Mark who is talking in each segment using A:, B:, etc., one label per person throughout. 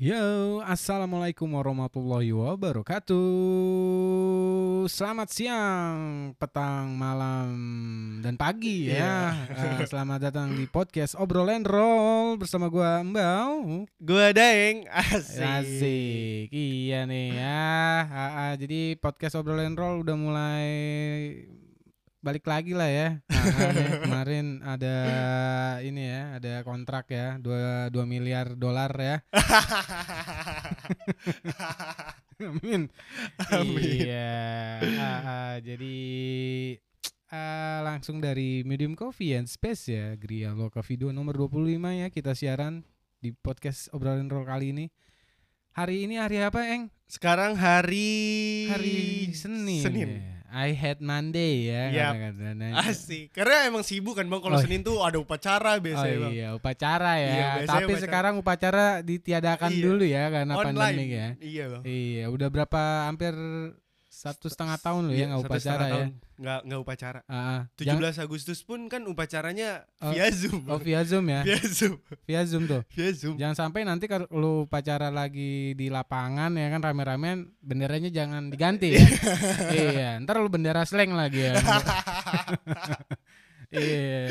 A: Yo, assalamualaikum warahmatullahi wabarakatuh. Selamat siang, petang, malam, dan pagi ya. Eh, selamat datang di podcast obrolan roll bersama gua Mbau.
B: Gua Daeng asik.
A: Asik, iya nih ya. Ah, ah, jadi podcast obrolan roll udah mulai balik lagi lah ya. Ah, ah, ya. Kemarin ada ini ya, ada kontrak ya, 2 2 miliar dolar ya. Amin.
B: Amin.
A: Iya. Ah, ah, jadi ah, langsung dari Medium Coffee and Space ya, Gria Lo Coffee 2 nomor 25 ya kita siaran di podcast obrolan roll kali ini. Hari ini hari apa, Eng?
B: Sekarang hari
A: Hari Senin.
B: Senin.
A: ya. I had Monday ya.
B: Yap.
A: kadang-kadang.
B: Asik. Karena emang sibuk kan Bang kalau
A: Oh,
B: Senin tuh ada upacara biasanya
A: oh
B: Bang.
A: iya, upacara ya.
B: Iya, biasanya
A: Tapi
B: upacara.
A: sekarang upacara ditiadakan
B: Iya.
A: dulu ya karena
B: Online.
A: pandemi ya.
B: Iya Bang.
A: Iya, udah berapa hampir satu setengah tahun loh ya nggak
B: Iya, satu setengah
A: upacara ya.
B: tahun Nggak nggak upacara.
A: Ah, ah.
B: 17
A: Jangan-
B: Agustus pun kan upacaranya
A: Oh,
B: via Zoom.
A: Oh
B: Bang.
A: via zoom ya,
B: Via Zoom.
A: via zoom tuh.
B: Via Zoom.
A: Jangan sampai nanti kalau lu pacara lagi di lapangan ya kan rame-ramean benderanya jangan diganti ya. iya, ntar lu bendera slang lagi ya. iya.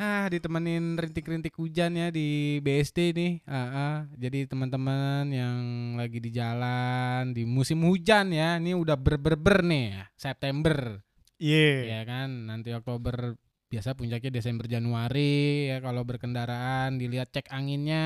A: Ah, ditemenin rintik-rintik hujan ya di BSD nih. Ah, ah. Jadi teman-teman yang lagi di jalan di musim hujan ya, ini udah berber-ber nih ya, September.
B: Iya.
A: ya kan nanti Oktober biasa puncaknya Desember Januari ya kalau berkendaraan dilihat cek anginnya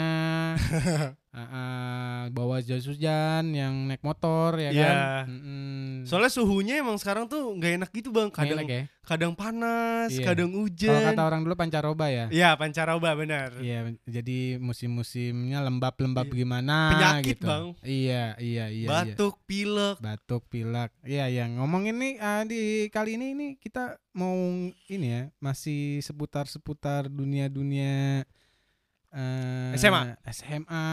A: Ah, ah, bawa jas hujan yang naik motor ya
B: Iya.
A: kan Mm-mm.
B: Soalnya suhunya emang sekarang tuh nggak enak gitu Bang. Kadang
A: Ngelek ya
B: kadang panas,
A: Iya.
B: kadang
A: kalau
B: hujan.
A: kata orang dulu pancaroba ya
B: Iya, pancaroba benar.
A: Iya, jadi musim-musimnya lembab-lembab
B: Iya.
A: gimana
B: Penyakit,
A: gitu.
B: Bang.
A: Iya, iya, iya. iya.
B: Batuk, pilek.
A: batuk pilek iya yang ngomongin nih ah, di kali ini ini kita mau ini ya masih seputar seputar dunia dunia eh,
B: SMA.
A: SMA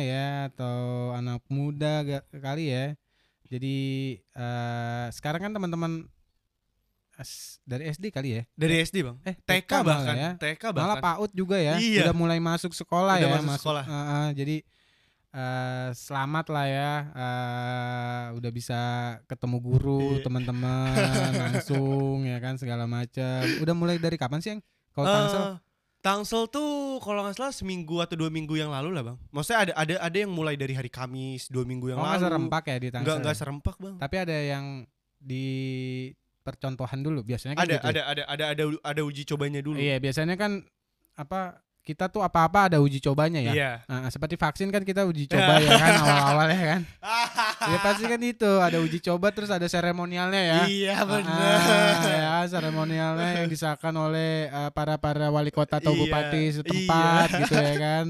A: ya atau anak muda ga- kali ya jadi eh, sekarang kan teman-teman S- dari SD kali ya
B: Dari SD, Bang.
A: eh
B: TK
A: malah
B: bahkan,
A: ya.
B: TK
A: malah
B: bahkan.
A: PAUD juga ya
B: Iya.
A: udah mulai masuk sekolah
B: Udah
A: ya
B: masuk sekolah.
A: Eh, eh, jadi eh, selamat lah ya eh, udah bisa ketemu guru
B: Iya.
A: teman-teman langsung ya kan segala macam udah mulai dari kapan sih yang kalau
B: Eh,
A: Tangsel
B: Tangsel tuh kalau nggak salah seminggu atau dua minggu yang lalu lah bang. Maksudnya ada ada ada yang mulai dari hari Kamis dua minggu yang
A: oh nggak
B: lalu.
A: serempak ya di Tangsel
B: Nggak nggak serempak bang.
A: tapi ada yang di percontohan dulu biasanya kan
B: Ada
A: gitu.
B: ada ada ada ada ada uji cobanya dulu.
A: iya biasanya kan apa kita tuh apa-apa ada uji cobanya ya
B: Iya.
A: Ah, seperti vaksin kan kita uji coba ya kan awal-awal ya kan Ya pasti kan itu ada uji coba terus ada seremonialnya ya.
B: Iya
A: Ah,
B: benar.
A: ya seremonialnya yang disahkan oleh eh, para para wali kota atau
B: Iya,
A: bupati setempat gitu ya kan.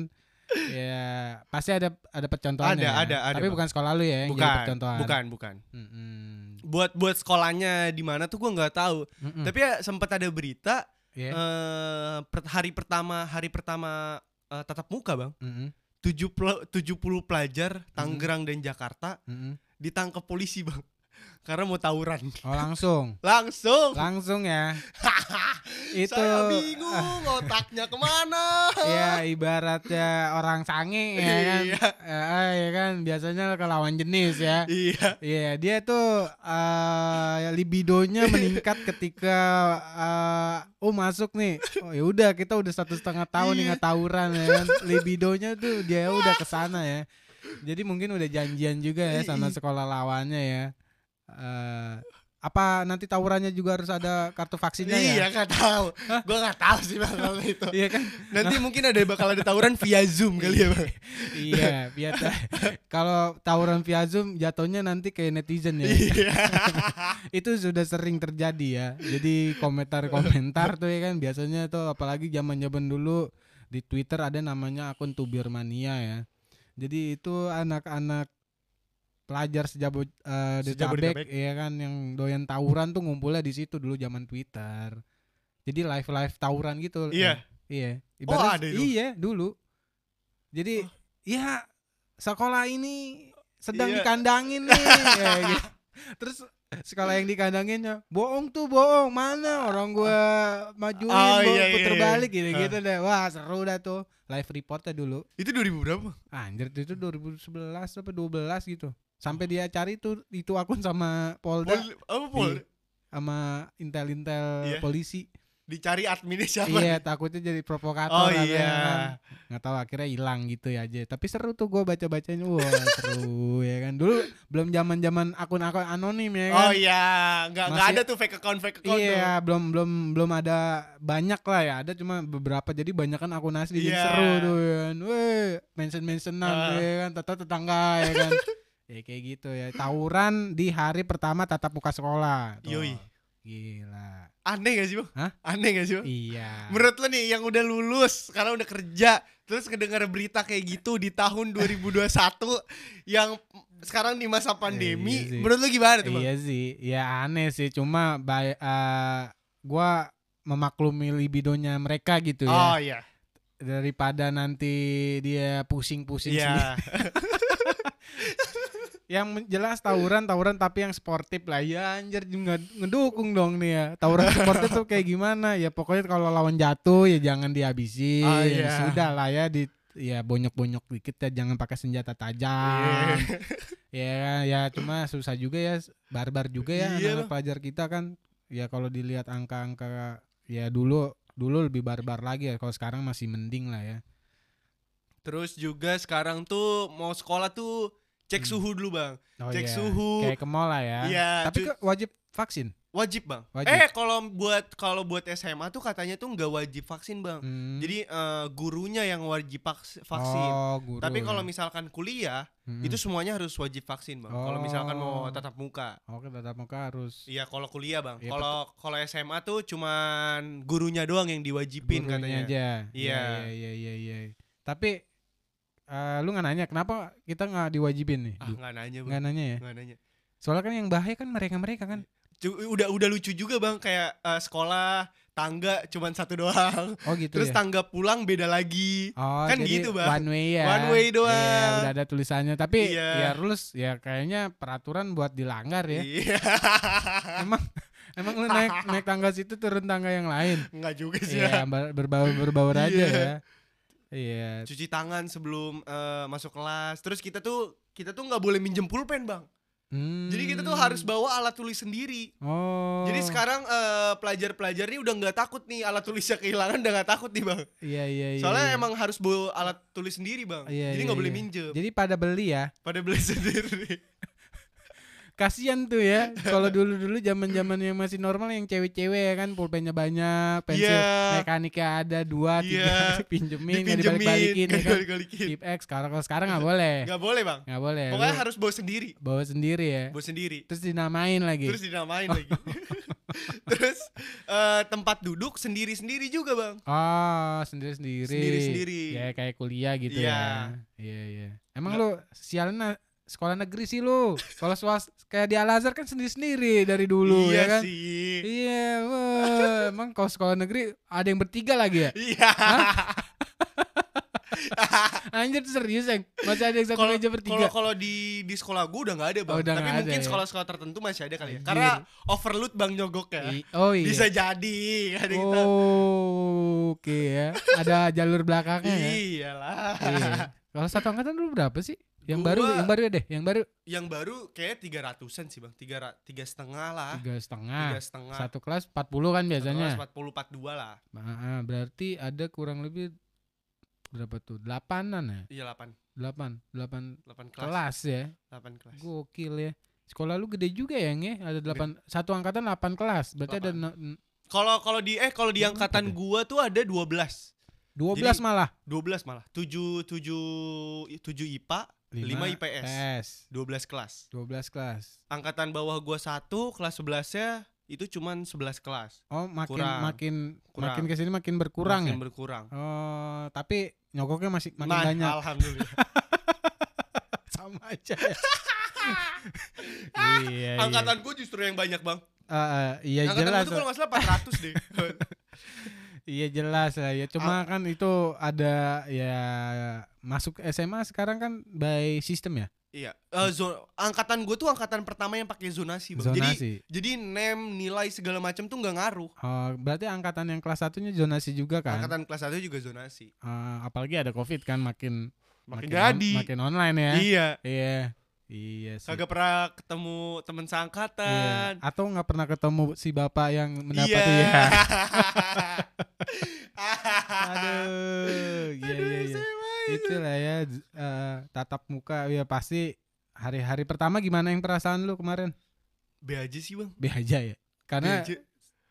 A: Ya pasti ada ada percontohannya.
B: Ada,
A: ya.
B: ada, ada,
A: Tapi
B: Bang.
A: bukan sekolah lu ya yang jadi
B: Bukan
A: percontohan.
B: bukan bukan.
A: Mm-mm.
B: Buat buat sekolahnya di mana tuh gua nggak tahu.
A: Mm-mm.
B: Tapi ya sempat ada berita
A: Iya.
B: eh, per- hari pertama hari pertama eh, tatap muka bang.
A: Mm-mm.
B: 70 70 pelajar
A: Mhm.
B: Tangerang dan Jakarta
A: Mm-mm.
B: ditangkap polisi bang karena mau tawuran
A: Oh langsung
B: langsung
A: langsung ya. itu
B: saya bingung otaknya kemana
A: ya ibaratnya orang sange ya kan.
B: Iya.
A: Eh, ya kan biasanya ke lawan jenis ya.
B: iya
A: Iya, dia tuh eh, libidonya meningkat ketika eh, oh masuk nih. Oh ya udah kita udah satu setengah
B: Iya.
A: tahun nih nggak tawuran ya. kan. Libidonya tuh dia udah kesana ya. Jadi mungkin udah janjian juga ya sama
B: Iya.
A: sekolah lawannya ya. Eh, apa nanti tawurannya juga harus ada kartu vaksinnya
B: iya
A: ya?
B: nggak tahu gue nggak tahu sih bang kalau itu
A: Iya kan?
B: nanti mungkin ada bakal ada tawuran via zoom kali ya bang
A: Iya, biar kalau tawuran via Zoom jatuhnya nanti kayak netizen ya.
B: iya
A: itu sudah sering terjadi ya jadi komentar-komentar tuh ya kan biasanya tuh apalagi zaman zaman dulu di Twitter ada namanya akun Tubirmania ya jadi itu anak-anak pelajar sejabut eh
B: Sejabodetabek.
A: Detabek ya kan yang doyan tawuran tuh ngumpulnya di situ dulu zaman Twitter jadi live live tawuran gitu
B: Iya.
A: Eh, iya
B: ada itu. Oh.
A: iya dulu jadi ya sekolah ini sedang
B: Iya.
A: dikandangin nih ya, gitu. terus sekolah yang dikandangin ya, bohong tuh bohong mana orang gua majuin
B: Oh,
A: bo-
B: iya, iya,
A: puter
B: iya.
A: balik gitu gitu deh wah seru dah tuh live reportnya dulu
B: Itu 2000 berapa?
A: anjir itu 2011 apa 12 gitu sampai dia cari tuh itu akun sama Polda
B: Pol- apa pol?
A: Iya. sama intel intel
B: Iya.
A: polisi
B: Dicari adminnya siapa?
A: iya takutnya jadi provokator
B: Oh
A: katanya
B: iya.
A: kan. nggak tahu akhirnya hilang gitu ya aja tapi seru tuh gua baca bacanya wah seru ya kan dulu belum zaman zaman akun akun anonim ya kan
B: Oh iya, nggak nggak
A: Masih-
B: ada tuh fake account fake account. tuh.
A: Iya, belum belum belum ada banyak lah ya. Ada cuma beberapa. Jadi banyak kan akun asli jadi
B: Iya.
A: seru tuh ya. kan. Weh, mention-mentionan
B: Ah.
A: ya kan, tata tetangga ya kan. ya kayak gitu ya. Tawuran di hari pertama tatap muka sekolah. Tuh.
B: Yoi.
A: Gila.
B: Aneh gak sih bang?
A: Hah?
B: Aneh gak sih bang?
A: Iya.
B: Menurut lo nih yang udah lulus karena udah kerja terus kedengar berita kayak gitu di tahun 2021 yang sekarang di masa pandemi,
A: Iya sih.
B: menurut lo gimana tuh bang?
A: Iya sih. Ya aneh sih. Cuma bay- eh, gua memaklumi libidonya mereka gitu ya.
B: Oh iya,
A: Daripada nanti dia pusing-pusing sendiri.
B: iya,
A: yang men- jelas tawuran tawuran tapi yang sportif lah ya anjir juga ngedukung dong nih ya tawuran sportif tuh kayak gimana ya pokoknya kalau lawan jatuh ya jangan dihabisin
B: Ah, iya.
A: sudah lah ya di ya bonyok-bonyok dikit ya jangan pakai senjata tajam
B: Iya.
A: ya ya cuma susah juga ya barbar juga ya
B: Iya
A: anak
B: lah.
A: pelajar kita kan ya kalau dilihat angka-angka ya dulu dulu lebih barbar lagi ya kalau sekarang masih mending lah ya
B: Terus juga sekarang tuh mau sekolah tuh cek
A: Hmm.
B: suhu dulu bang.
A: Oh,
B: Cek
A: iya.
B: suhu.
A: kayak ke mall lah ya
B: Iya,
A: tapi
B: cu-
A: ke- wajib vaksin
B: Wajib bang.
A: Wajib.
B: Eh kalau buat kalau buat SMA tuh katanya tuh nggak wajib vaksin bang.
A: Hmm.
B: Jadi eh, gurunya yang wajib vaks- vaksin.
A: Oh, guru.
B: Tapi kalau misalkan kuliah
A: Mm-mm.
B: itu semuanya harus wajib vaksin bang.
A: Oh.
B: Kalau misalkan mau tatap muka.
A: oke tatap muka harus
B: Iya kalau kuliah bang.
A: Iya,
B: Kalau kalau SMA tuh cuman gurunya doang yang diwajibin
A: gurunya
B: katanya.
A: aja.
B: Iya.
A: Iya iya iya iya. Tapi eh, lu nggak nanya kenapa kita nggak diwajibin nih?
B: Ah nggak nanya bang.
A: Nggak nanya ya.
B: Nggak nanya.
A: Soalnya kan yang bahaya kan mereka-mereka kan.
B: Cu- udah udah lucu juga bang kayak eh, sekolah tangga cuman satu doang.
A: Oh gitu
B: Terus
A: ya.
B: tangga pulang beda lagi.
A: Oh,
B: kan
A: jadi
B: gitu, Bang.
A: One way ya.
B: One way doang.
A: Iya, udah ada tulisannya. Tapi
B: Iya.
A: ya rules ya kayaknya peraturan buat dilanggar ya.
B: Iya.
A: Emang emang lu naik naik tangga situ turun tangga yang lain.
B: Enggak juga sih.
A: Iya,
B: ya.
A: ber- berbaur berbaur aja
B: Iya.
A: ya. Iya.
B: Cuci tangan sebelum eh, masuk kelas. Terus kita tuh kita tuh nggak boleh minjem pulpen, Bang. Jadi kita tuh
A: Hmm.
B: harus bawa alat tulis sendiri.
A: Oh.
B: Jadi sekarang eh, pelajar-pelajar nih udah nggak takut nih alat tulisnya kehilangan udah nggak takut nih, Bang.
A: Iya iya iya.
B: Soalnya
A: iya.
B: emang harus bawa alat tulis sendiri, Bang.
A: Iya,
B: Jadi
A: iya,
B: nggak boleh
A: iya.
B: minjem.
A: Jadi pada beli ya.
B: Pada beli sendiri.
A: Kasian tuh ya. Kalau dulu-dulu zaman-zaman yang masih normal yang cewek-cewek ya kan pulpennya banyak, pensil
B: Iya.
A: mekaniknya ada dua, tiga
B: Iya.
A: pinjemin, nggak
B: Dipinjemin,
A: dibalik-balikin ya kan. Iya,
B: kali-kalikin.
A: Tip X kalau kalau sekarang nggak boleh.
B: Nggak boleh, Bang.
A: Nggak boleh.
B: Pokoknya
A: Lu
B: harus bawa sendiri.
A: bawa sendiri ya.
B: Bawa sendiri.
A: Terus dinamain lagi.
B: Terus
A: Oh.
B: dinamain lagi. Terus eh, tempat duduk sendiri-sendiri juga, Bang.
A: Oh, sendiri-sendiri.
B: Sendiri-sendiri.
A: Ya kayak kuliah gitu
B: Iya.
A: ya. Iya, iya. Emang lu sialnya sekolah negeri sih lu. Kalau swasta kayak di Al-Azhar kan sendiri-sendiri dari dulu
B: iya
A: ya kan.
B: sih.
A: Iya, wah, emang kalau sekolah negeri ada yang bertiga lagi ya?
B: Iya.
A: Anjir serius, Eng. Masih ada yang satu
B: Kalau
A: meja
B: kalau
A: bertiga.
B: kalau di di sekolah gue udah nggak ada bang.
A: Oh, udah
B: Tapi
A: nggak ada
B: mungkin
A: ya.
B: sekolah-sekolah tertentu masih ada kali ya.
A: Anjir.
B: Karena overload bang nyogok ya.
A: I- oh iya.
B: Bisa jadi. Ada kita.
A: Oh, oke ya. Ada jalur belakangnya ya.
B: Iyalah.
A: Iya. Kalau satu angkatan lu berapa sih? Yang baru,
B: Gua-
A: yang baru ya deh, yang baru
B: Yang baru kayak tiga ratusan sih bang. Tiga ra- tiga setengah lah.
A: tiga setengah.
B: Tiga setengah.
A: Nah, Satu kelas 40 kan biasanya.
B: Empat puluh empat dua lah.
A: Ah, ah, berarti ada kurang lebih berapa tuh? Delapanan ya?
B: Iya delapan.
A: Delapan, delapan
B: Delapan kelas.
A: kelas ya.
B: Delapan kelas.
A: Gokil ya. Sekolah lu gede juga ya, Nge? Ada delapan, satu angkatan 8 kelas. Berarti ada
B: Delapan.
A: no-
B: Kalau kalau di eh kalau di
A: Berapa deh?
B: angkatan gua tuh ada 12.
A: 12
B: Jadi,
A: malah.
B: 12 malah. 7 7 7 IPA, 5 IPS.
A: IPS.
B: 12 kelas.
A: 12 kelas.
B: Angkatan bawah gua 1, kelas 11-nya itu cuman 11 kelas.
A: Oh, makin
B: Kurang.
A: makin
B: Kurang.
A: makin ke sini makin berkurang
B: Makin
A: ya.
B: berkurang.
A: oh, tapi nyogoknya masih makin
B: Nah,
A: banyak. Iya,
B: alhamdulillah.
A: Sama aja. ya. iya, iya.
B: angkatan gua justru yang banyak, Bang.
A: Ah, ah, iya
B: angkatan
A: jelas.
B: gua tuh kalau nggak salah 400 deh.
A: Iya jelas lah ya. Cuma kan itu ada ya masuk SMA sekarang kan by sistem ya.
B: Iya. Eh, zo- angkatan gue tuh angkatan pertama yang pakai zonasi, Iya, Bang. Jadi
A: Zonasi.
B: jadi name, nilai segala macam tuh nggak ngaruh.
A: Oh, berarti angkatan yang kelas satunya zonasi juga kan?
B: Angkatan kelas 1 juga zonasi.
A: Eh, apalagi ada covid kan makin on-
B: Makin, jadi.
A: makin online ya.
B: Iya.
A: Iya. Iya sih.
B: Kagak pernah ketemu temen
A: Iya.
B: seangkatan.
A: Atau nggak pernah ketemu si bapak yang mendapat
B: Iya.
A: ya.
B: Aduh.
A: Aduh. Iya iya iya.
B: SMA.
A: Itulah ya z- eh, tatap muka ya pasti hari-hari pertama gimana yang perasaan lu kemarin?
B: Be aja sih, Bang.
A: Be aja ya.
B: Be
A: Karena
B: aja.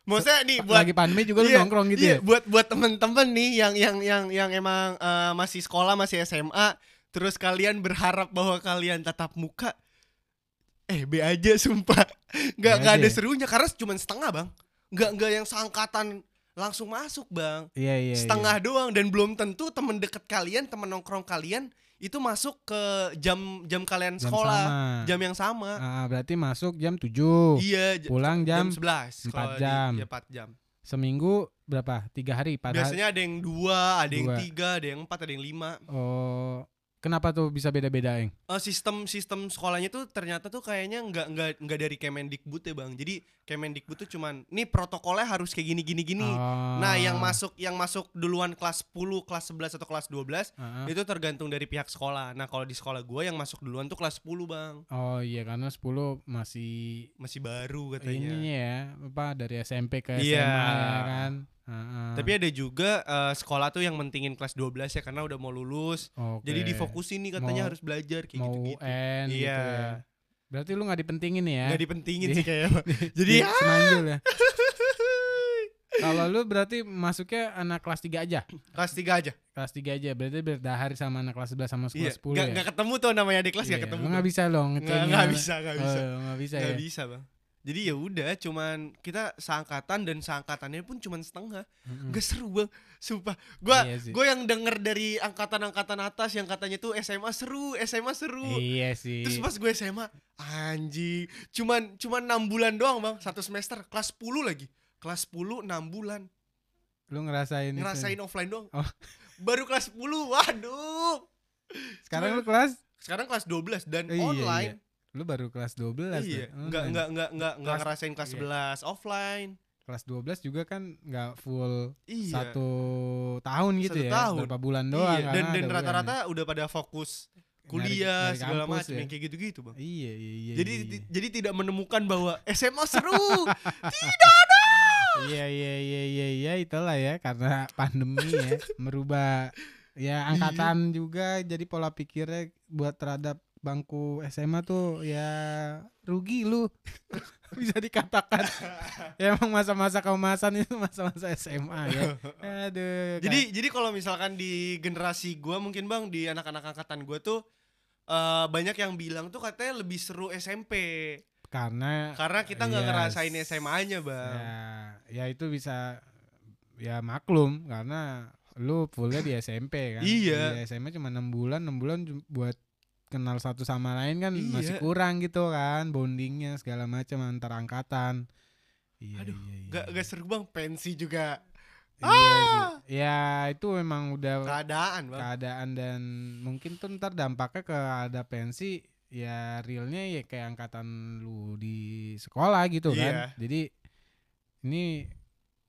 B: Maksudnya nih
A: pa-
B: buat
A: lagi pandemi juga lu
B: Iya,
A: nongkrong gitu
B: Iya,
A: ya.
B: buat buat temen-temen nih yang yang yang yang emang eh, masih sekolah masih SMA terus kalian berharap bahwa kalian tatap muka eh be aja sumpah nggak
A: Be
B: nggak
A: aja.
B: ada
A: ya?
B: serunya karena cuma setengah bang nggak nggak yang seangkatan langsung masuk bang
A: Iya iya. iya.
B: setengah doang dan belum tentu temen deket kalian temen nongkrong kalian itu masuk ke jam jam kalian
A: Jam
B: sekolah
A: sama.
B: jam yang sama
A: Ah, berarti masuk jam 7
B: iya j-
A: pulang
B: jam,
A: jam empat
B: 11 kalau di-
A: jam.
B: ya, empat jam
A: seminggu berapa? Tiga hari, empat hari.
B: Biasanya ada yang dua, ada yang
A: Dua.
B: tiga, ada yang empat, ada yang lima.
A: Oh, kenapa tuh bisa beda-beda, Eng?
B: Eh, sistem sistem sekolahnya tuh ternyata tuh kayaknya nggak nggak nggak dari Kemendikbud ya bang. Jadi Kemendikbud tuh cuman, nih protokolnya harus kayak gini gini gini.
A: Oh.
B: Nah yang masuk yang masuk duluan kelas 10, kelas 11 atau kelas 12
A: Ah, ah.
B: itu tergantung dari pihak sekolah. Nah kalau di sekolah gua yang masuk duluan tuh kelas 10 bang,
A: Oh iya karena 10 masih
B: masih baru katanya.
A: ininya ya, apa dari SMP ke SMA
B: Iya.
A: ya kan. Ah, ah.
B: Tapi ada juga eh, sekolah tuh yang mentingin kelas 12 ya karena udah mau lulus.
A: Oke.
B: Jadi difokusin nih katanya
A: Mau-
B: harus belajar kayak
A: mau
B: gitu-gitu.
A: UN gitu
B: Iya.
A: ya. Berarti lu nggak dipentingin ya?
B: nggak dipentingin Iya.
A: Jadi-
B: sih kayaknya jadi
A: Di- semanjul ya. Kalau lu berarti masuknya anak kelas 3 aja.
B: kelas 3 aja
A: Kelas 3 aja berarti berdahari sama anak kelas 11 sama
B: iya
A: kelas 10
B: nggak
A: ya.
B: nggak ketemu tuh namanya adik kelas nggak
A: Iya,
B: ketemu
A: lu nggak bisa dong
B: nggak
A: ngecengin
B: nggak
A: anak-
B: bisa nggak bisa
A: Oh, nggak bisa
B: nggak
A: ya.
B: bisa bang jadi ya udah cuman kita seangkatan dan seangkatannya pun cuman setengah
A: Mm-mm.
B: nggak seru bang sumpah gua
A: Hmm. Iya sih.
B: gua yang denger dari angkatan-angkatan atas yang katanya tuh SMA seru SMA seru
A: Iya sih.
B: Terus pas gue SMA, anjing, cuman cuman 6 bulan doang, Bang. Satu semester, kelas 10 lagi. Kelas 10 6 bulan.
A: lu ngerasain itu.
B: ngerasain offline doang.
A: Oh.
B: Baru kelas 10. Waduh.
A: Sekarang lu
B: Cuman-
A: kelas
B: Sekarang kelas 12 dan
A: Iya, iya.
B: kan online.
A: lu baru kelas 12 tuh,
B: Iya. Enggak
A: online.
B: enggak enggak enggak enggak
A: Kelas-
B: ngerasain kelas
A: iya.
B: 11 offline.
A: Kelas 12 juga kan nggak full
B: Iya.
A: satu tahun gitu
B: Satu
A: ya.
B: tahun.
A: Berapa bulan doang
B: iya.
A: karena
B: Dan
A: ada
B: dan
A: bulan
B: rata-rata
A: ya.
B: udah pada fokus
A: Nyari-
B: kuliah
A: nyari
B: segala
A: kampus
B: macam
A: ya.
B: yang kayak gitu-gitu, Bang.
A: Iya, iya, iya.
B: Jadi
A: iya,
B: ti- jadi tidak menemukan bahwa SMA seru.
A: iya, iya, iya, iya, iya, itulah ya karena pandemi ya merubah ya angkatan juga jadi pola pikirnya buat terhadap bangku SMA tuh ya rugi lu bisa dikatakan ya emang masa-masa keemasan itu masa-masa SMA ya aduh
B: Jadi jadi kalau misalkan di generasi gua mungkin Bang di anak-anak angkatan gua tuh eh, banyak yang bilang tuh katanya lebih seru SMP
A: karena
B: karena kita nggak
A: Iya,
B: ngerasain
A: s-
B: SMA-nya, Bang.
A: ya, ya itu bisa ya maklum karena lu fullnya di SMP kan
B: Iya.
A: di SMA cuma enam bulan enam bulan ju- buat kenal satu sama lain kan masih
B: Iya.
A: kurang gitu kan bondingnya segala macam antar angkatan iya,
B: Aduh,
A: iya, iya,
B: Gak,
A: iya.
B: gak seru bang, pensi juga
A: Iya
B: Ah!
A: sih. ya itu memang udah
B: keadaan bang
A: keadaan dan mungkin tuh ntar dampaknya ke ada pensi ya realnya ya kayak angkatan lu di sekolah gitu
B: Iya.
A: kan jadi ini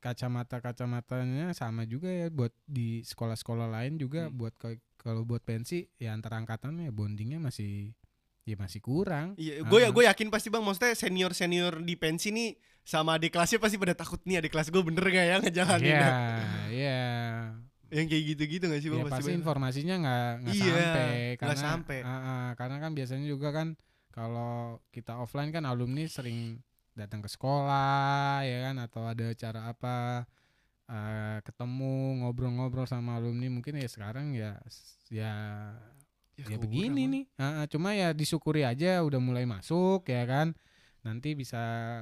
A: kacamata kacamatanya sama juga ya buat di sekolah-sekolah lain juga
B: Hmm.
A: buat ke- kalau buat pensi ya antara angkatan ya bondingnya masih ya masih kurang
B: Iya,
A: Ah.
B: gue ya gue yakin pasti bang, maksudnya senior senior di pensi nih sama adik kelasnya pasti pada takut nih adik kelas gue bener gak ya ngejalanin
A: ya
B: nah?
A: ya
B: yang kayak gitu-gitu gak sih bang
A: ya pasti
B: banyak.
A: informasinya nggak nggak
B: Iya,
A: sampai
B: nggak
A: karena
B: sampai.
A: Ah, ah, karena kan biasanya juga kan kalau kita offline kan alumni sering datang ke sekolah ya kan atau ada acara apa eh, ketemu ngobrol-ngobrol sama alumni mungkin ya sekarang ya s- ya ya
B: kurang,
A: begini
B: Bang.
A: nih Ah, ah, cuma ya disyukuri aja udah mulai masuk ya kan nanti bisa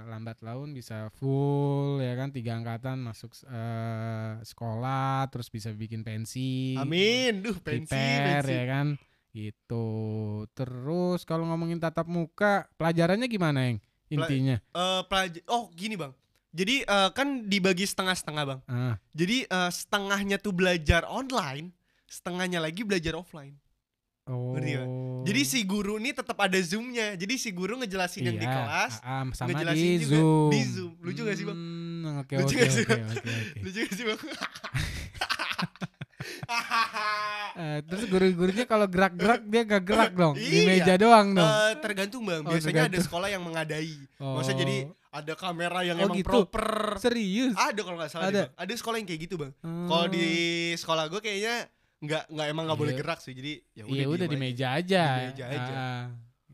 A: lambat laun bisa full ya kan tiga angkatan masuk eh, sekolah terus bisa bikin pensi
B: Amin, duh pensi,
A: prepare
B: pensi.
A: ya kan gitu terus kalau ngomongin tatap muka pelajarannya gimana yang intinya
B: Eh, pelaj- oh gini bang, jadi eh, kan dibagi setengah-setengah bang.
A: Ah,
B: Jadi eh, setengahnya tuh belajar online, setengahnya lagi belajar offline.
A: Oh.
B: Ngerti nggak? Jadi si guru ini tetap ada zoomnya. Jadi si guru ngejelasin yang di
A: Iya,
B: kelas,
A: ah, ah, sama
B: ngejelasin
A: di
B: juga
A: Zoom.
B: di Zoom. Lucu nggak sih, Bang?
A: Hmm, Oke
B: Lucu
A: oke
B: nggak sih,
A: oke
B: Bang?
A: oke oke.
B: Lucu gak sih bang?
A: Eh, terus guru-gurunya kalau gerak-gerak dia gak gerak dong di
B: Iya.
A: meja doang dong.
B: Eh, tergantung bang.
A: Oh,
B: Biasanya ada
A: tergantung.
B: sekolah yang mengadai.
A: Oh.
B: Maksudnya Eh, jadi ada kamera yang
A: Oh,
B: emang
A: gitu.
B: proper.
A: Serius. Hmm.
B: Ada kalau nggak salah.
A: Ada.
B: Ada. ada sekolah yang kayak gitu bang. Kalau di sekolah gue kayaknya nggak nggak emang nggak boleh
A: Iya.
B: gerak sih. Jadi ya udah.
A: Iya udah di
B: diem aja.
A: meja aja.
B: Di meja aja.
A: Ah.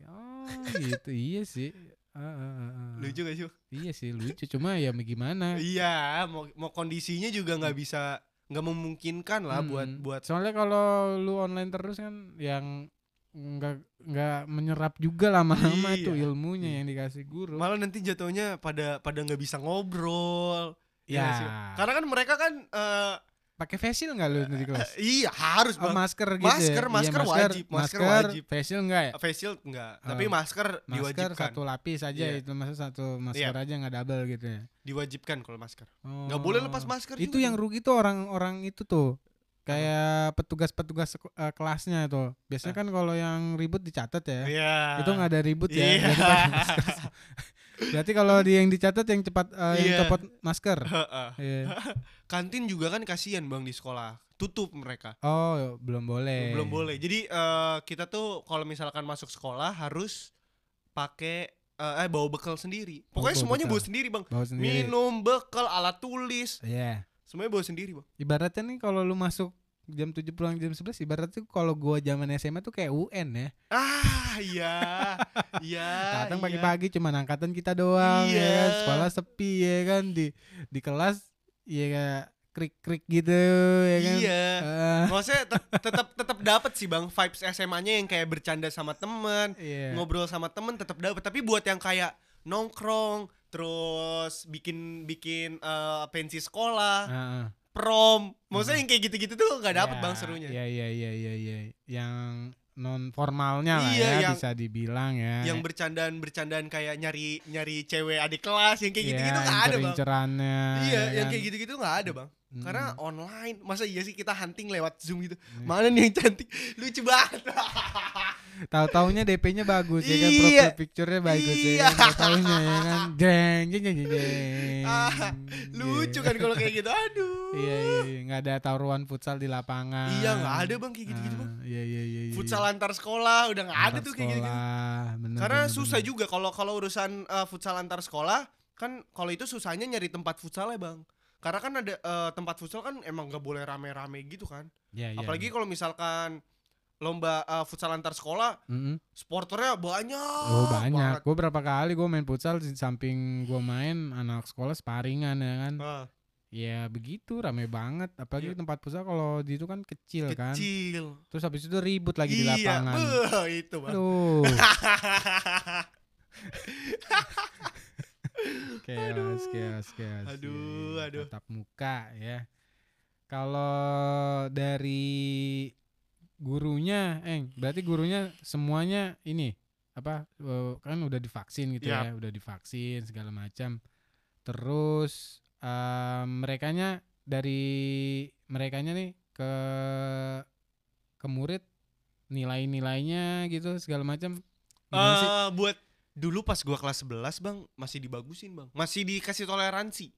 A: Oh, gitu iya sih. Ah, ah, ah, ah.
B: Lucu gak sih? Bang?
A: Iya sih lucu cuma ya gimana?
B: Iya. Mau mau kondisinya juga nggak bisa nggak memungkinkan lah buat
A: Mm.
B: buat.
A: Soalnya kalau lu online terus kan yang nggak nggak menyerap juga lama-lama
B: Iya.
A: tuh ilmunya
B: Iya.
A: yang dikasih guru.
B: Malah nanti jatuhnya pada pada nggak bisa ngobrol. Iya
A: ya.
B: nggak sih, Bang? Karena kan mereka kan eh,
A: Pakai facial nggak lu di kelas?
B: iya harus
A: Oh,
B: bang.
A: masker gitu. ya?
B: Masker,
A: Iya,
B: masker wajib, masker wajib.
A: Facial enggak ya?
B: facial enggak,
A: Oh.
B: tapi masker,
A: Masker
B: diwajibkan.
A: satu lapis aja
B: Iya.
A: itu masa satu masker aja nggak double gitu ya.
B: Diwajibkan kalau masker.
A: Oh.
B: Nggak boleh lepas
A: Itu
B: masker juga. gitu.
A: yang rugi tuh orang-orang itu tuh. Kayak petugas-petugas seko- eh, kelasnya tuh. Biasanya
B: Ah.
A: kan kalau yang ribut dicatat ya.
B: Iya.
A: Itu nggak ada ribut ya. Berarti
B: Iya.
A: pakai masker. Berarti kalau di yang dicatat yang cepat eh, yang
B: Iya.
A: copot masker.
B: Heeh.
A: Iya.
B: Kantin juga kan kasihan Bang di sekolah. Tutup mereka.
A: Oh, belum boleh.
B: Belum boleh. Jadi eh, kita tuh kalau misalkan masuk sekolah harus pakai eh eh, bawa bekal sendiri.
A: Oh,
B: Pokoknya
A: bawa
B: semuanya
A: bekal.
B: bawa sendiri, Bang.
A: Bawa sendiri.
B: Minum, bekal, alat tulis,
A: Iya.
B: semuanya bawa sendiri, Bang.
A: Ibaratnya nih kalau lu masuk jam 7 pulang jam 11 ibaratnya kalau gua zaman SMA tuh kayak UN ya.
B: Ah, iya. Iya.
A: Datang
B: iya.
A: pagi-pagi cuman angkatan kita doang ya
B: Iya.
A: kan. Sekolah sepi ya kan di di kelas ya kayak krik-krik gitu ya kan.
B: Iya.
A: Ah,
B: Maksudnya tetap tetap dapat sih bang vibes SMA-nya yang kayak bercanda sama temen,
A: iya.
B: ngobrol sama temen tetap dapat. Tapi buat yang kayak nongkrong, terus bikin bikin eh, pensi sekolah,
A: Ah, ah.
B: prom, maksudnya yang kayak gitu-gitu tuh nggak dapat
A: Ya,
B: bang serunya.
A: Iya iya iya iya iya. Yang non formalnya lah
B: Iya,
A: ya
B: yang-
A: bisa dibilang ya.
B: Yang bercandaan bercandaan kayak nyari nyari cewek adik kelas, yang kayak gitu-gitu
A: Iya,
B: nggak
A: yang
B: ada bang.
A: cer-incerannya,
B: Iya,
A: ya
B: yang
A: kan.
B: kayak gitu-gitu nggak ada bang.
A: Mm.
B: Karena online, masa iya sih kita hunting lewat zoom gitu.
A: Iya.
B: Mana nih yang cantik, lucu banget.
A: Tahu-taunya DP-nya bagus ya kan,
B: Iya.
A: profile picture-nya bagus
B: Iya.
A: ya kan, tahu-taunya ya kan, jeng jeng jeng jeng. jeng.
B: Ah, lucu kan kalau kayak gitu, aduh.
A: Iya iya, iya. nggak ada taruhan futsal di lapangan.
B: Iya nggak ada bang kayak gitu-gitu bang.
A: Ah, Iya iya iya. iya.
B: Futsal antar sekolah udah nggak ada
A: Antar
B: tuh kayak gitu.
A: sekolah, bener,
B: Karena
A: bener,
B: susah
A: bener.
B: juga kalau kalau urusan eh, futsal antar sekolah kan kalau itu susahnya nyari tempat futsalnya bang. Karena kan ada eh, tempat futsal kan emang nggak boleh rame-rame gitu kan.
A: Iya, iya,
B: Apalagi
A: iya.
B: kalau misalkan lomba eh, futsal antar sekolah
A: Mm-mm.
B: sporternya banyak.
A: Oh banyak.
B: banget.
A: Gue berapa kali gue main futsal di samping gue main anak sekolah sparingan ya kan.
B: Ah,
A: Ya begitu rame banget. Apalagi
B: Iya.
A: tempat futsal kalau di itu kan kecil, kan.
B: kecil.
A: Terus habis itu ribut lagi di
B: Iya,
A: lapangan.
B: beuh, itu bang.
A: Aduh. chaos, chaos, chaos. Iya,
B: Aduh,
A: iya.
B: aduh.
A: Tatap muka ya. Kalau dari gurunya, eh berarti gurunya semuanya ini apa eh, kan udah divaksin gitu
B: Yap.
A: ya, udah divaksin segala macam. Terus mereka merekanya dari merekanya nih ke ke murid nilai-nilainya gitu segala macam. Gimana sih?
B: Eh, buat dulu pas gua kelas 11 bang masih dibagusin bang masih dikasih toleransi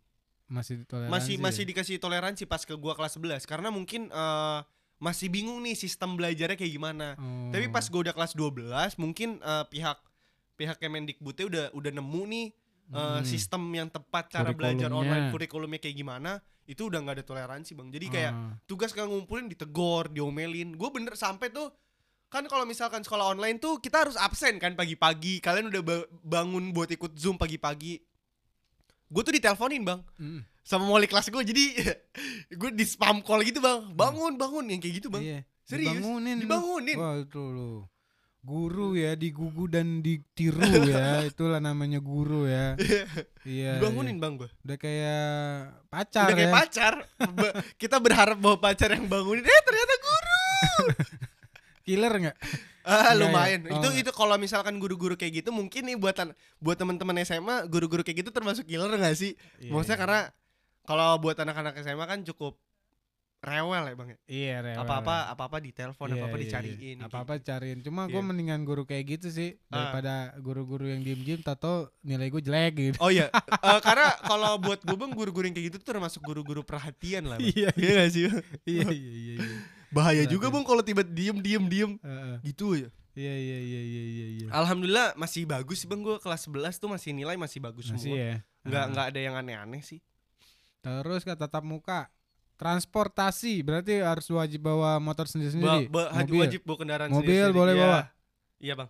A: Masih toleransi.
B: masih
A: ya?
B: masih dikasih toleransi pas ke gua kelas 11 karena mungkin eh, masih bingung nih sistem belajarnya kayak gimana.
A: Oh.
B: Tapi pas eh, gua udah kelas 12 mungkin eh, pihak pihak Kemendikbudnya udah udah nemu nih eh,
A: Hmm.
B: sistem yang tepat cara belajar
A: Kurikulumnya.
B: online kurikulumnya kayak gimana itu udah nggak ada toleransi bang. Jadi kayak
A: Ah,
B: tugas kan ngumpulin ditegor, diomelin. Gue bener sampai tuh kan kalau misalkan sekolah online tuh kita harus absen kan pagi-pagi. Kalian udah ba- bangun buat ikut zoom pagi-pagi. Gue tuh diteleponin bang
A: mm,
B: sama wali kelas gue jadi gue di spam call gitu bang bangun bangun yang kayak gitu bang
A: Hmm. iya.
B: serius,
A: Dibangunin. lu.
B: dibangunin
A: Wah, itu lu. Guru ya digugu dan ditiru ya, itulah namanya guru ya. Iya.
B: dibangunin
A: iya.
B: bang gue
A: Udah kayak pacar
B: udah kayak
A: ya.
B: pacar Ba- kita berharap bahwa pacar yang bangunin eh ternyata guru
A: Killer nggak?
B: ah
A: Iya,
B: lumayan
A: iya. Oh,
B: itu
A: enggak.
B: itu kalau misalkan guru-guru kayak gitu mungkin nih buatan buat teman-teman SMA guru-guru kayak gitu termasuk killer gak sih
A: Iya,
B: maksudnya
A: iya.
B: karena kalau buat anak-anak SMA kan cukup rewel ya bang ya.
A: Iya, rewel.
B: Apa-apa apa-apa ditelepon,
A: Iya, iya,
B: apa-apa
A: iya.
B: dicariin. gitu.
A: Apa-apa cariin. Cuma gue
B: Iya.
A: mendingan guru kayak gitu sih
B: Ah.
A: daripada guru-guru yang diem-diem tato nilai gue jelek gitu.
B: Oh iya, Eh, karena kalau buat gue bang guru-guru yang kayak gitu tuh termasuk guru-guru perhatian lah. Bang.
A: Iya,
B: iya gak sih? Bang?
A: iya, iya, iya. iya.
B: Bahaya
A: Perhatian.
B: juga bang kalau tiba diem diem diem
A: Heeh.
B: gitu ya.
A: Iya, iya, iya, iya, iya, iya.
B: Alhamdulillah masih bagus sih bang gue kelas 11 tuh masih nilai masih bagus
A: Masih
B: semua.
A: ya.
B: Nggak
A: Ah.
B: nggak ada yang aneh-aneh sih.
A: Terus ke tatap muka. Transportasi berarti harus wajib bawa motor
B: Ba-
A: sendiri-sendiri.
B: ba- had-
A: mobil.
B: wajib bawa kendaraan
A: Mobil
B: sendiri-sendiri.
A: boleh
B: Iya.
A: bawa.
B: Iya bang,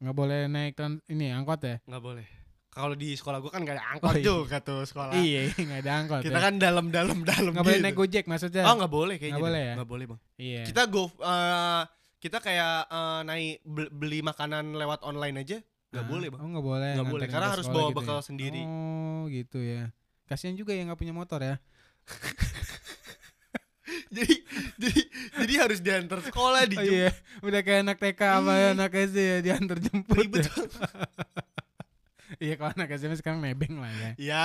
A: Nggak boleh naik tran- ini angkot ya?
B: nggak boleh. Kalau di sekolah gue kan nggak ada
A: Oh,
B: angkot
A: iya.
B: juga tuh sekolah.
A: Iya, nggak ada angkot.
B: Kita
A: ya.
B: kan dalam-dalam dalam.
A: nggak boleh
B: gitu.
A: naik gojek maksudnya.
B: Oh nggak boleh kayaknya.
A: Nggak boleh ya?
B: Nggak boleh bang.
A: Iya.
B: Kita go eh, kita kayak eh, naik bel- beli makanan lewat online aja nggak
A: Ah,
B: boleh bang.
A: Oh nggak boleh.
B: Nggak
A: nganter
B: boleh
A: ke
B: karena
A: atas
B: harus
A: sekolah
B: bawa
A: gitu
B: bekal
A: ya.
B: sendiri.
A: Oh gitu ya. Kasihan juga yang nggak punya motor ya.
B: jadi jadi jadi harus diantar sekolah di
A: Oh, iya. Udah kayak anak TK sama
B: Iya.
A: anak SD ya diantar jemput.
B: ribet.
A: ya. Iya kalau anak SD sekarang nebeng lah ya.
B: ya.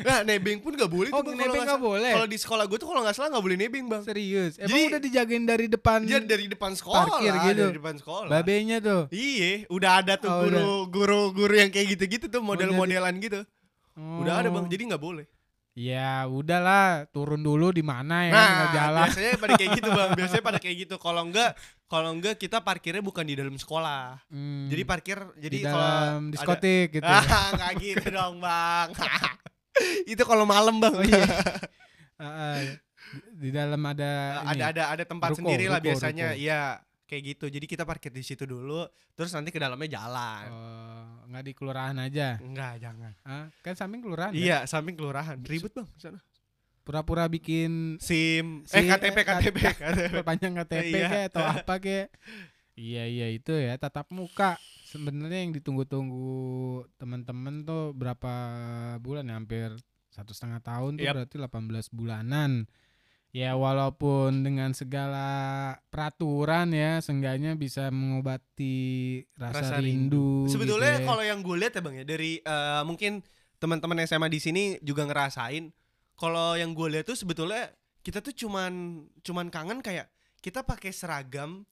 B: Nah nebeng pun nggak boleh.
A: Oh
B: tuh, Bang, kalau
A: nebeng
B: nggak
A: nggak boleh.
B: salah. Kalau di sekolah gue tuh kalau nggak salah nggak boleh nebeng bang.
A: Serius. Emang
B: Jadi-
A: udah dijagain dari depan
B: Dia dari depan sekolah.
A: Hmm. Parkir gitu.
B: Dari depan sekolah.
A: babenya tuh.
B: Iya, udah ada tuh
A: Oh,
B: guru, guru, guru yang kayak gitu-gitu tuh model-modelan gitu. Udah ada bang,
A: Oh.
B: jadi nggak boleh.
A: Ya udahlah turun dulu di mana ya
B: nah,
A: tinggal jalan.
B: biasanya pada kayak gitu bang, biasanya pada kayak gitu. Kalau enggak, kalau enggak kita parkirnya bukan di dalam sekolah.
A: Hmm,
B: Jadi parkir, jadi
A: di
B: kalau
A: dalam
B: ada-
A: diskotik gitu. ya.
B: Ah, nggak gitu dong bang. itu kalau malam bang.
A: Oh iya. Ah, ah. di dalam ada ini.
B: ada ada Eh, ada tempat
A: Ruko,
B: sendiri lah
A: ruko,
B: biasanya.
A: ruko.
B: Iya, kayak gitu. Jadi kita parkir di situ dulu, terus nanti ke dalamnya jalan.
A: Oh, nggak di kelurahan aja.
B: Enggak, jangan.
A: Ah, kan samping kelurahan. ya?
B: Iya, samping kelurahan. Ribut bang. di sana.
A: Pura-pura bikin
B: SIM,
A: Si-
B: eh
A: eh,
B: KTP, KTP, KTP.
A: perpanjang KTP
B: Iya.
A: kayak atau apa kayak. Iya iya itu ya tatap muka. Sebenarnya yang ditunggu-tunggu teman-teman tuh berapa bulan ya hampir satu setengah tahun tuh
B: Yap.
A: berarti 18 bulanan. Ya walaupun dengan segala peraturan ya seenggaknya bisa mengobati rasa,
B: Rasa
A: rindu. gitu ya.
B: Sebetulnya kalau yang gue lihat ya bang ya dari eh, mungkin teman-teman SMA di sini juga ngerasain kalau yang gue lihat tuh sebetulnya kita tuh cuman cuman kangen kayak kita pakai seragam,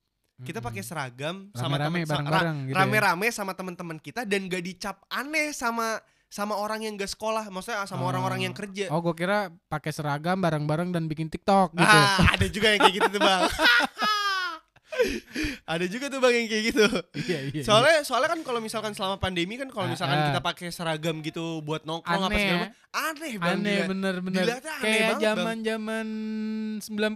B: kita
A: Mm-mm.
B: pakai seragam
A: rame-rame
B: sama temen- sa- ra-
A: bareng-bareng gitu. ya.
B: rame-rame sama teman-teman kita dan gak dicap aneh sama sama orang yang gak sekolah, maksudnya
A: Oh.
B: sama orang-orang yang kerja.
A: Oh, gue kira pakai seragam bareng-bareng dan bikin TikTok gitu.
B: Ah, ada juga yang kayak gitu tuh bang. ada juga tuh bang yang kayak gitu.
A: Iya, iya. iya.
B: soalnya soalnya kan kalau misalkan selama pandemi kan kalau misalkan
A: Ah, ah.
B: kita pakai seragam gitu buat nongkrong apa
A: Aneh ya.
B: segala macam aneh banget
A: aneh bener-bener.
B: Dilihatnya aneh
A: Kayak
B: banget,
A: zaman-zaman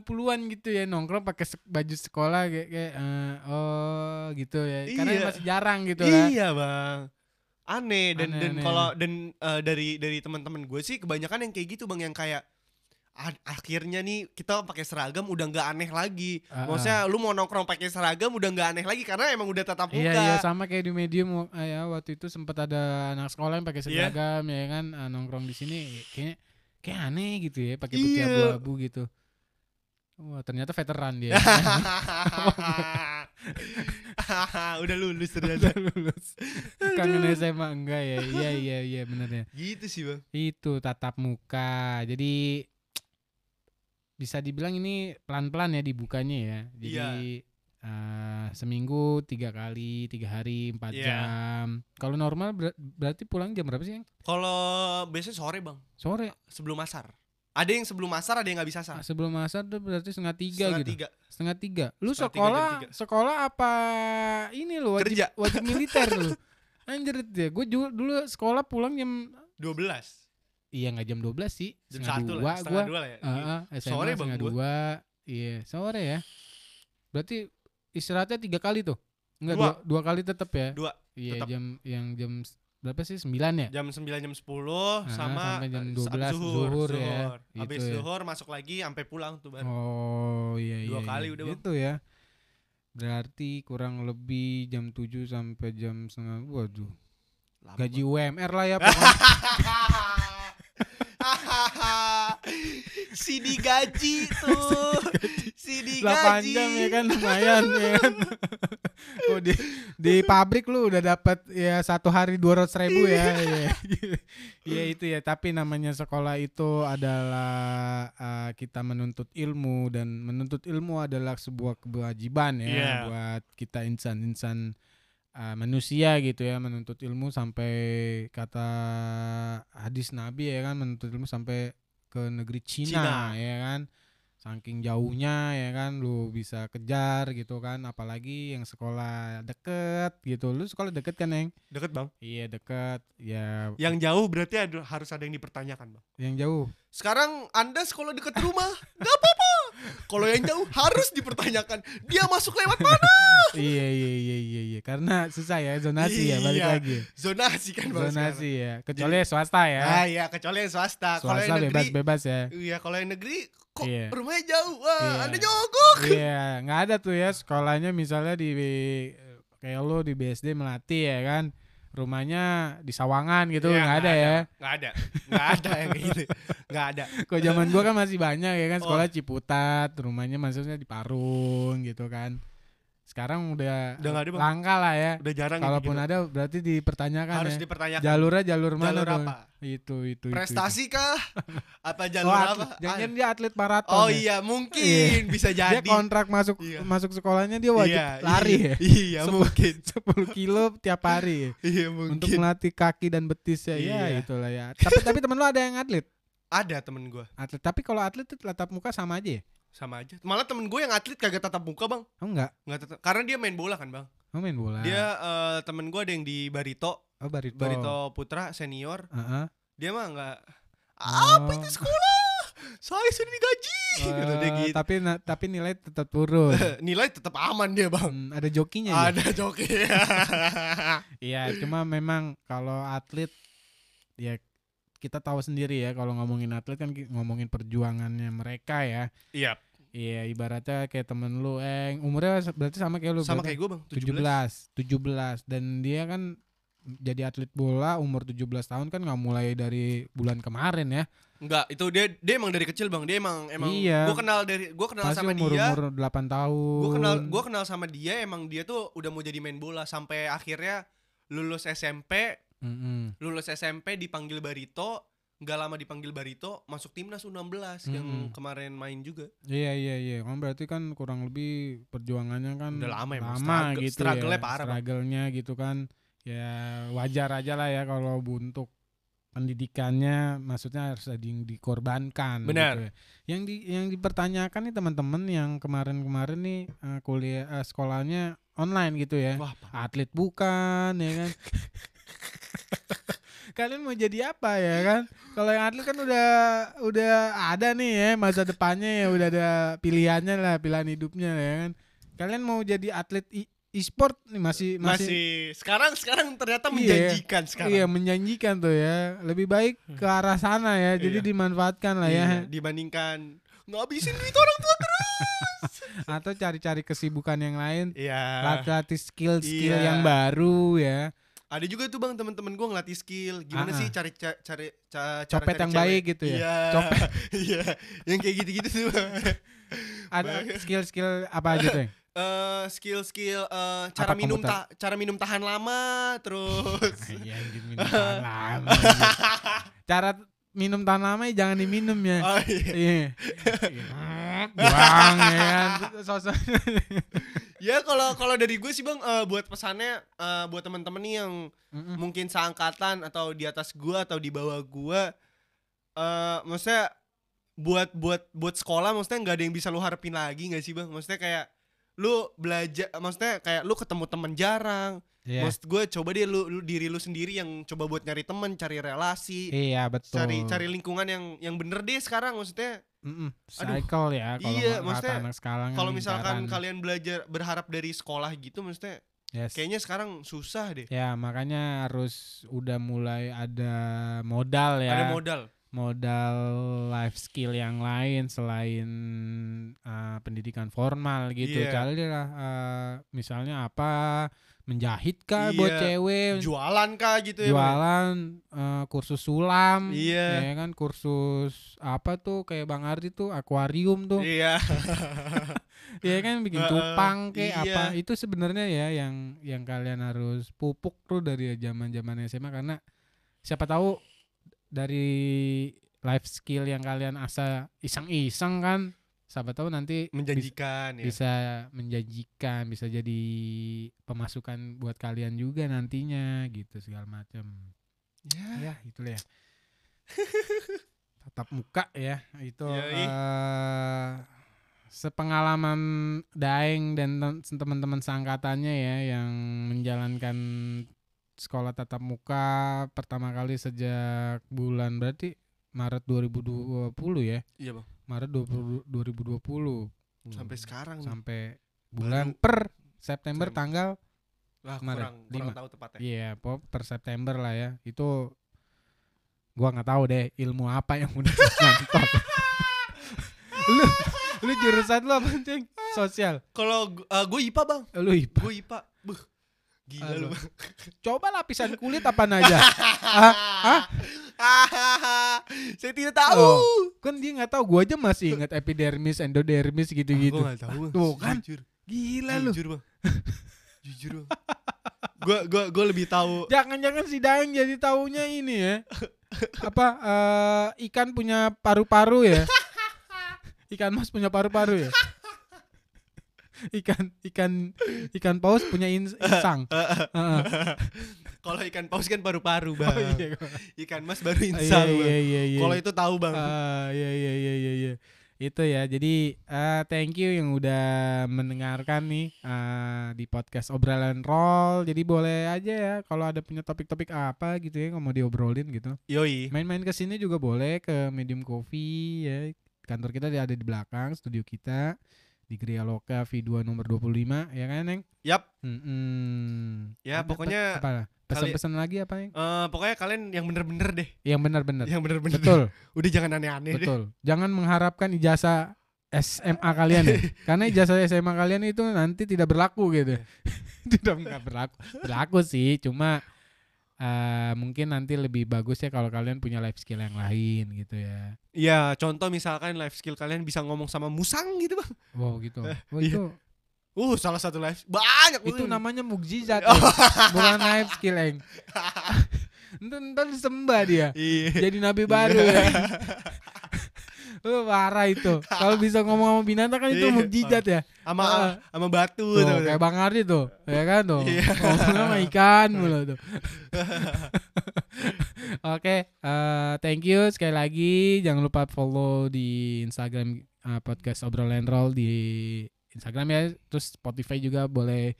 A: 90-an gitu ya nongkrong pakai se- baju sekolah kayak, kayak eh, oh gitu ya. Karena
B: Iya.
A: masih jarang gitu lah.
B: iya bang aneh dan
A: Aneh,
B: dan
A: aneh.
B: kalau dan eh, dari dari teman-teman gue sih kebanyakan yang kayak gitu bang yang kayak "Ah, akhirnya nih kita pakai seragam udah nggak aneh lagi
A: Ah, ah.
B: maksudnya lu mau nongkrong pakai seragam udah nggak aneh lagi karena emang udah tatap muka
A: Iya iya sama kayak di medium eh, ya waktu itu sempat ada anak sekolah yang pakai
B: Iya.
A: seragam ya kan eh, nongkrong di sini kayaknya kayak aneh gitu ya pakai
B: Iya.
A: putih abu-abu gitu. Wah ternyata veteran dia.
B: udah lulus ternyata
A: Udah lulus. Kangen SMA enggak ya? Iya iya iya benar ya.
B: gitu sih bang
A: Itu tatap muka. Jadi bisa dibilang ini pelan-pelan ya dibukanya ya.
B: Iya.
A: Jadi eh, seminggu tiga kali, tiga hari, empat
B: Iya.
A: jam. Kalau normal ber- berarti pulang jam berapa sih? Yang?
B: kalau biasanya sore bang
A: Sore.
B: sebelum asar. Ada yang sebelum asar, ada yang nggak bisa
A: Ah,
B: asar.
A: Sebelum asar tuh berarti setengah tiga
B: Setengah
A: gitu.
B: tiga.
A: Setengah tiga. Lu
B: Setengah tiga,
A: sekolah
B: jam tiga.
A: sekolah apa ini lu wajib
B: Kerja
A: wajib militer lu. Anjir ya, gue dulu sekolah pulang jam
B: 12
A: Iya nggak jam 12 sih
B: jam
A: Setengah
B: satu
A: dua
B: lah,
A: gua
B: setengah dua lah ya.
A: Heeh, SMA
B: Sore bang
A: setengah
B: gua.
A: dua Iya sore ya Berarti istirahatnya tiga kali tuh Enggak
B: Dua.
A: dua, dua kali tetap ya
B: Dua,
A: Iya
B: tetep.
A: jam yang jam s- berapa sih 9 ya
B: Jam 9 jam 10
A: Ah,
B: sama
A: sampai jam
B: eh,
A: 12, zuhur
B: zuhur,
A: ya.
B: zuhur.
A: Gitu
B: Habis
A: ya.
B: zuhur masuk lagi sampai pulang tuh baru.
A: Oh iya iya
B: Dua
A: iya.
B: kali udah, Bang.
A: Gitu ya Berarti kurang lebih jam 7 sampai jam setengah Waduh
B: Lama,
A: Gaji
B: Bang.
A: UMR lah ya pokoknya
B: si digaji tuh. si
A: 8
B: digaji.
A: jam ya kan lumayan ya kan ya Kok di di pabrik lu udah dapat ya satu hari dua ratus ribu ya Iya. Iya itu ya tapi namanya sekolah itu adalah eh, kita menuntut ilmu dan menuntut ilmu adalah sebuah kewajiban ya
B: Iya.
A: buat kita insan-insan eh, manusia gitu ya menuntut ilmu sampai kata hadis nabi ya kan menuntut ilmu sampai ke negeri Cina, ya kan saking jauhnya ya kan lu bisa kejar gitu kan apalagi yang sekolah deket gitu lu sekolah deket kan Neng?
B: Deket bang.
A: iya deket ya
B: Yang jauh berarti ada, harus ada yang dipertanyakan bang.
A: yang jauh
B: Sekarang anda sekolah deket rumah, nggak apa-apa. Kalau yang jauh harus dipertanyakan. Dia masuk lewat mana?
A: iya iya iya iya iya karena susah ya zonasi ya balik
B: Iya,
A: lagi ya.
B: Zonasi kan bang.
A: zonasi ya kecuali swasta ya
B: sekarang. Ah iya kecuali yang swasta. Kalau
A: swasta
B: yang
A: bebas
B: negeri,
A: bebas ya
B: iya kalau yang negeri kok
A: Iya.
B: rumahnya jauh. Wah
A: Iya.
B: anda jongkok.
A: Iya, nggak ada tuh ya sekolahnya misalnya di kayak lo di BSD Melati ya kan, rumahnya di Sawangan gitu
B: Iya,
A: nggak ada ya.
B: Nggak ada, nggak ada yang kayak gitu, nggak ada.
A: Kok zaman gua kan masih banyak ya kan
B: Oh.
A: sekolah Ciputat, rumahnya maksudnya di Parung gitu kan. Sekarang udah,
B: Udah nggak ada, Bang.
A: langka lah ya.
B: Udah jarang. yang
A: Kalaupun
B: begitu.
A: ada berarti dipertanyakan
B: harus
A: ya.
B: dipertanyakan.
A: Jalurnya jalur mana
B: Jalur
A: tuh?
B: apa?
A: Itu itu itu, itu.
B: Prestasi kah? Apa
A: Oh,
B: jalur apa? Ah.
A: atlet, jangan dia atlet maraton.
B: Oh
A: ya.
B: iya mungkin bisa
A: Dia
B: jadi.
A: kontrak masuk
B: Iya.
A: masuk sekolahnya dia wajib
B: Iya,
A: lari
B: iya,
A: ya.
B: Iya
A: Sebuah-
B: mungkin.
A: 10 kilo tiap hari.
B: Iya
A: untuk
B: mungkin.
A: melatih kaki dan betis ya, ya
B: Iya.
A: itulah ya. Tapi tapi temen lu ada yang atlet,
B: Ada temen gue
A: atlet. Tapi kalau atlet itu tatap muka sama aja ya?
B: sama aja. Malah temen gue yang atlet kagak tatap muka bang.
A: Oh enggak,
B: Nggak tatap. Karena dia main bola kan bang.
A: oh, main bola.
B: Dia eh, temen gue ada yang di Barito,
A: oh, barito.
B: Barito Putra senior.
A: Heeh.
B: Dia mah nggak.
A: Oh.
B: Apa itu sekolah? Saya sudah digaji. Kata dia
A: Eh,
B: gitu.
A: tapi na- tapi nilai tetap turun.
B: Nilai tetap aman dia bang.
A: Hmm, ada jokinya ya?
B: Ada joki.
A: Iya, cuma memang kalau atlet ya kita tahu sendiri ya kalau ngomongin atlet kan ki- ngomongin perjuangannya mereka ya.
B: Iya.
A: Iya, ibaratnya kayak temen lu, eh umurnya se- berarti sama kayak lu.
B: Sama
A: berarti
B: kayak gue bang. 17.
A: 17 17 dan dia kan jadi atlet bola umur 17 tahun kan nggak mulai dari bulan kemarin ya
B: Enggak, itu dia dia emang dari kecil bang. Dia emang emang.
A: Iya.
B: Gue kenal dari gue kenal
A: pasti
B: sama
A: umur
B: dia.
A: umur 8 tahun
B: Gue kenal gua kenal sama dia emang dia tuh udah mau jadi main bola sampai akhirnya lulus SMP,
A: Mm-mm.
B: lulus SMP dipanggil Barito, nggak lama dipanggil Barito masuk timnas U16 yang
A: Mm-mm.
B: kemarin main juga.
A: iya iya iya kan berarti kan kurang lebih perjuangannya kan
B: Udah lama ya, Bang.
A: lama
B: Struggle-
A: gitu ya
B: struggle-nya parah, Bang.
A: struggle-nya gitu kan ya wajar aja lah ya kalau untuk pendidikannya maksudnya harus ada yang dikorbankan
B: Benar.
A: gitu ya. yang di yang dipertanyakan nih teman-teman yang kemarin-kemarin nih eh, kuliah eh, sekolahnya online gitu ya
B: Wah, Pak.
A: atlet bukan ya kan kalian mau jadi apa ya kan kalau yang atlet kan udah udah ada nih ya masa depannya ya udah ada pilihannya lah pilihan hidupnya ya kan kalian mau jadi atlet e- e-sport nih masih masih,
B: masih sekarang sekarang ternyata
A: Iya.
B: menjanjikan sekarang. Hmm.
A: iya menjanjikan tuh ya lebih baik ke arah sana ya jadi
B: Iya.
A: dimanfaatkan lah ya
B: Iya, dibandingkan ngabisin duit orang tua terus.
A: atau cari-cari kesibukan yang lain
B: Iya.
A: latih skill skill
B: Iya.
A: yang baru ya
B: Ada juga tuh Bang teman-teman gua ngelatih skill. Gimana
A: Ah-ah.
B: sih cari ca- cari
A: Ah,
B: ca- cara
A: Copet
B: cari
A: yang
B: cewek?
A: baik gitu ya?
B: Iya.
A: Copet.
B: Iya. Yang kayak gitu-gitu tuh.
A: ada
B: Baik.
A: skill-skill apa aja tuh ya? Yang?
B: Eh, skill-skill eh, cara
A: Apa
B: minum
A: komputer?
B: ta- cara minum tahan lama terus
A: Iya, anjing, minum tahan lama. Cara minum tahan lama ya jangan diminum ya.
B: Oh, iya.
A: Iya. Buang ya kan. Sosok.
B: Ya kalau kalau dari gue sih Bang eh, buat pesannya eh, buat teman-teman nih yang
A: Mm-mm.
B: mungkin seangkatan atau di atas gua atau di bawah gua eh maksudnya buat buat buat sekolah maksudnya nggak ada yang bisa lu harapin lagi nggak sih bang maksudnya kayak lu belajar maksudnya kayak lu ketemu temen jarang
A: Iya.
B: maksud gue coba deh lu, lu diri lu sendiri yang coba buat nyari temen cari relasi
A: Iya betul.
B: cari cari lingkungan yang yang bener deh sekarang maksudnya
A: Mm-mm. cycle ya kalau iya,
B: Iya, maksudnya
A: anak sekarang
B: kalau
A: lingkaran.
B: misalkan kalian belajar berharap dari sekolah gitu maksudnya
A: Yes.
B: kayaknya sekarang susah deh
A: Ya makanya harus udah mulai ada modal ya.
B: ada modal
A: modal life skill yang lain selain uh, pendidikan formal gitu
B: Iya.
A: kali lah uh, misalnya apa menjahit kah buat
B: Iya.
A: cewek
B: Jualan kah gitu ya? Bang?
A: jualan eh, kursus sulam
B: Iya.
A: ya kan kursus apa tuh kayak Bang Ardi tuh akuarium tuh
B: Iya.
A: ya kan bikin
B: Heeh,
A: cupang kayak
B: iya.
A: apa itu sebenarnya ya yang yang kalian harus pupuk tuh dari zaman-zaman SMA karena siapa tahu dari life skill yang kalian asa iseng-iseng kan siapa tahu nanti bis-
B: Menjanjikan ya.
A: bisa menjanjikan bisa jadi pemasukan buat kalian juga nantinya gitu segala macam
B: Ya.
A: ya itu ya tatap muka ya itu
B: Yoi.
A: eh, sepengalaman daeng dan ten- teman-teman seangkatannya ya yang menjalankan sekolah tatap muka pertama kali sejak bulan berarti Maret 2020 ya
B: Iya, Bang.
A: Maret 20, 2020
B: Sampai sekarang nih.
A: Hmm. sampai bulan per September
B: Sam-
A: tanggal
B: Wah,
A: kemarin,
B: kurang, kurang
A: lima.
B: tahu tepatnya.
A: Iya, pop per September lah ya. Itu gua nggak tahu deh ilmu apa yang udah mantap. lu lu jurusan lu apa, Ceng? Sosial.
B: Kalau eh, gue IPA, Bang.
A: Lu IPA.
B: Gue IPA. Beuh. Gila lu,
A: Aduh.
B: Bang.
A: Coba lapisan kulit apa aja. Ah, ah.
B: Saya tidak tahu.
A: Oh, kan dia nggak tahu, gua aja masih ingat epidermis, endodermis gitu-gitu.
B: Gue gak tahu. Bang.
A: gitu. Tuh kan.
B: Jujur.
A: Gila lu.
B: Jujur, Bang. Jujur, Bang. Gue gua, gua lebih tahu.
A: Jangan-jangan si Daeng jadi taunya ini ya. Apa eh, ikan punya paru-paru ya? Ikan mas punya paru-paru ya? Ikan ikan ikan paus punya ins- insang. Heeh.
B: Kalau ikan paus kan paru-paru,
A: Oh,
B: Bang.
A: iya,
B: Ikan mas baru
A: iya,
B: insang. Bang.
A: iya, iya, iya.
B: Kalau itu tahu, Bang.
A: Ah, iya iya iya iya iya. Itu ya. Jadi eh, thank you yang udah mendengarkan nih eh, di podcast obrolan roll. Jadi boleh aja ya kalau ada punya topik-topik apa gitu ya yang mau diobrolin gitu.
B: Yoi.
A: Main-main ke sini juga boleh ke Medium Coffee ya. Kantor kita ada di belakang studio kita di Gria Loka V2 nomor 25 ya kan, Neng?
B: Yap.
A: Mm-mm.
B: Ya,
A: Ada
B: pokoknya
A: pe- apa? Pesan-pesan lagi apa, Neng?
B: Eh, pokoknya kalian yang bener-bener deh.
A: Yang benar-benar.
B: Yang bener-bener.
A: Betul,
B: Udah jangan aneh-aneh deh.
A: betul. Jangan mengharapkan ijazah SMA kalian ya. Karena ijazah SMA kalian itu nanti tidak berlaku gitu.
B: Ya.
A: tidak nggak berlaku. Berlaku sih, cuma eh, mungkin nanti lebih bagus ya kalau kalian punya life skill yang lain gitu ya.
B: Iya, contoh misalkan life skill kalian bisa ngomong sama musang gitu, Bang.
A: Wow gitu. Oh,
B: Iya.
A: itu
B: Uh, salah satu life banyak
A: itu
B: Bang.
A: namanya mukjizat,
B: Oh.
A: Eng. bukan life skill, Eng. Ntar ntar disembah dia.
B: Iya.
A: Jadi nabi baru ya. Lu parah itu. Kalau bisa ngomong sama binatang kan itu
B: Iya.
A: mukjizat ya.
B: Sama
A: Ah.
B: sama batu
A: Tuh,
B: tuh.
A: kayak Bang Ardi tuh, ya kan tuh.
B: Iya.
A: Ngomongnya sama ikan mulu tuh. Oke, eh, thank you sekali lagi. Jangan lupa follow di Instagram eh, podcast obrolan roll di Instagram ya. Terus Spotify juga boleh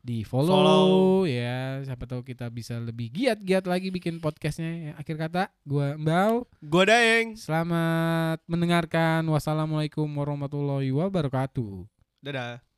A: di follow,
B: Follow.
A: ya. Siapa tahu kita bisa lebih giat-giat lagi bikin podcastnya. Ya, Akhir kata, gua Mbau.
B: Gua daeng.
A: Selamat mendengarkan. Wassalamualaikum warahmatullahi wabarakatuh.
B: Dadah.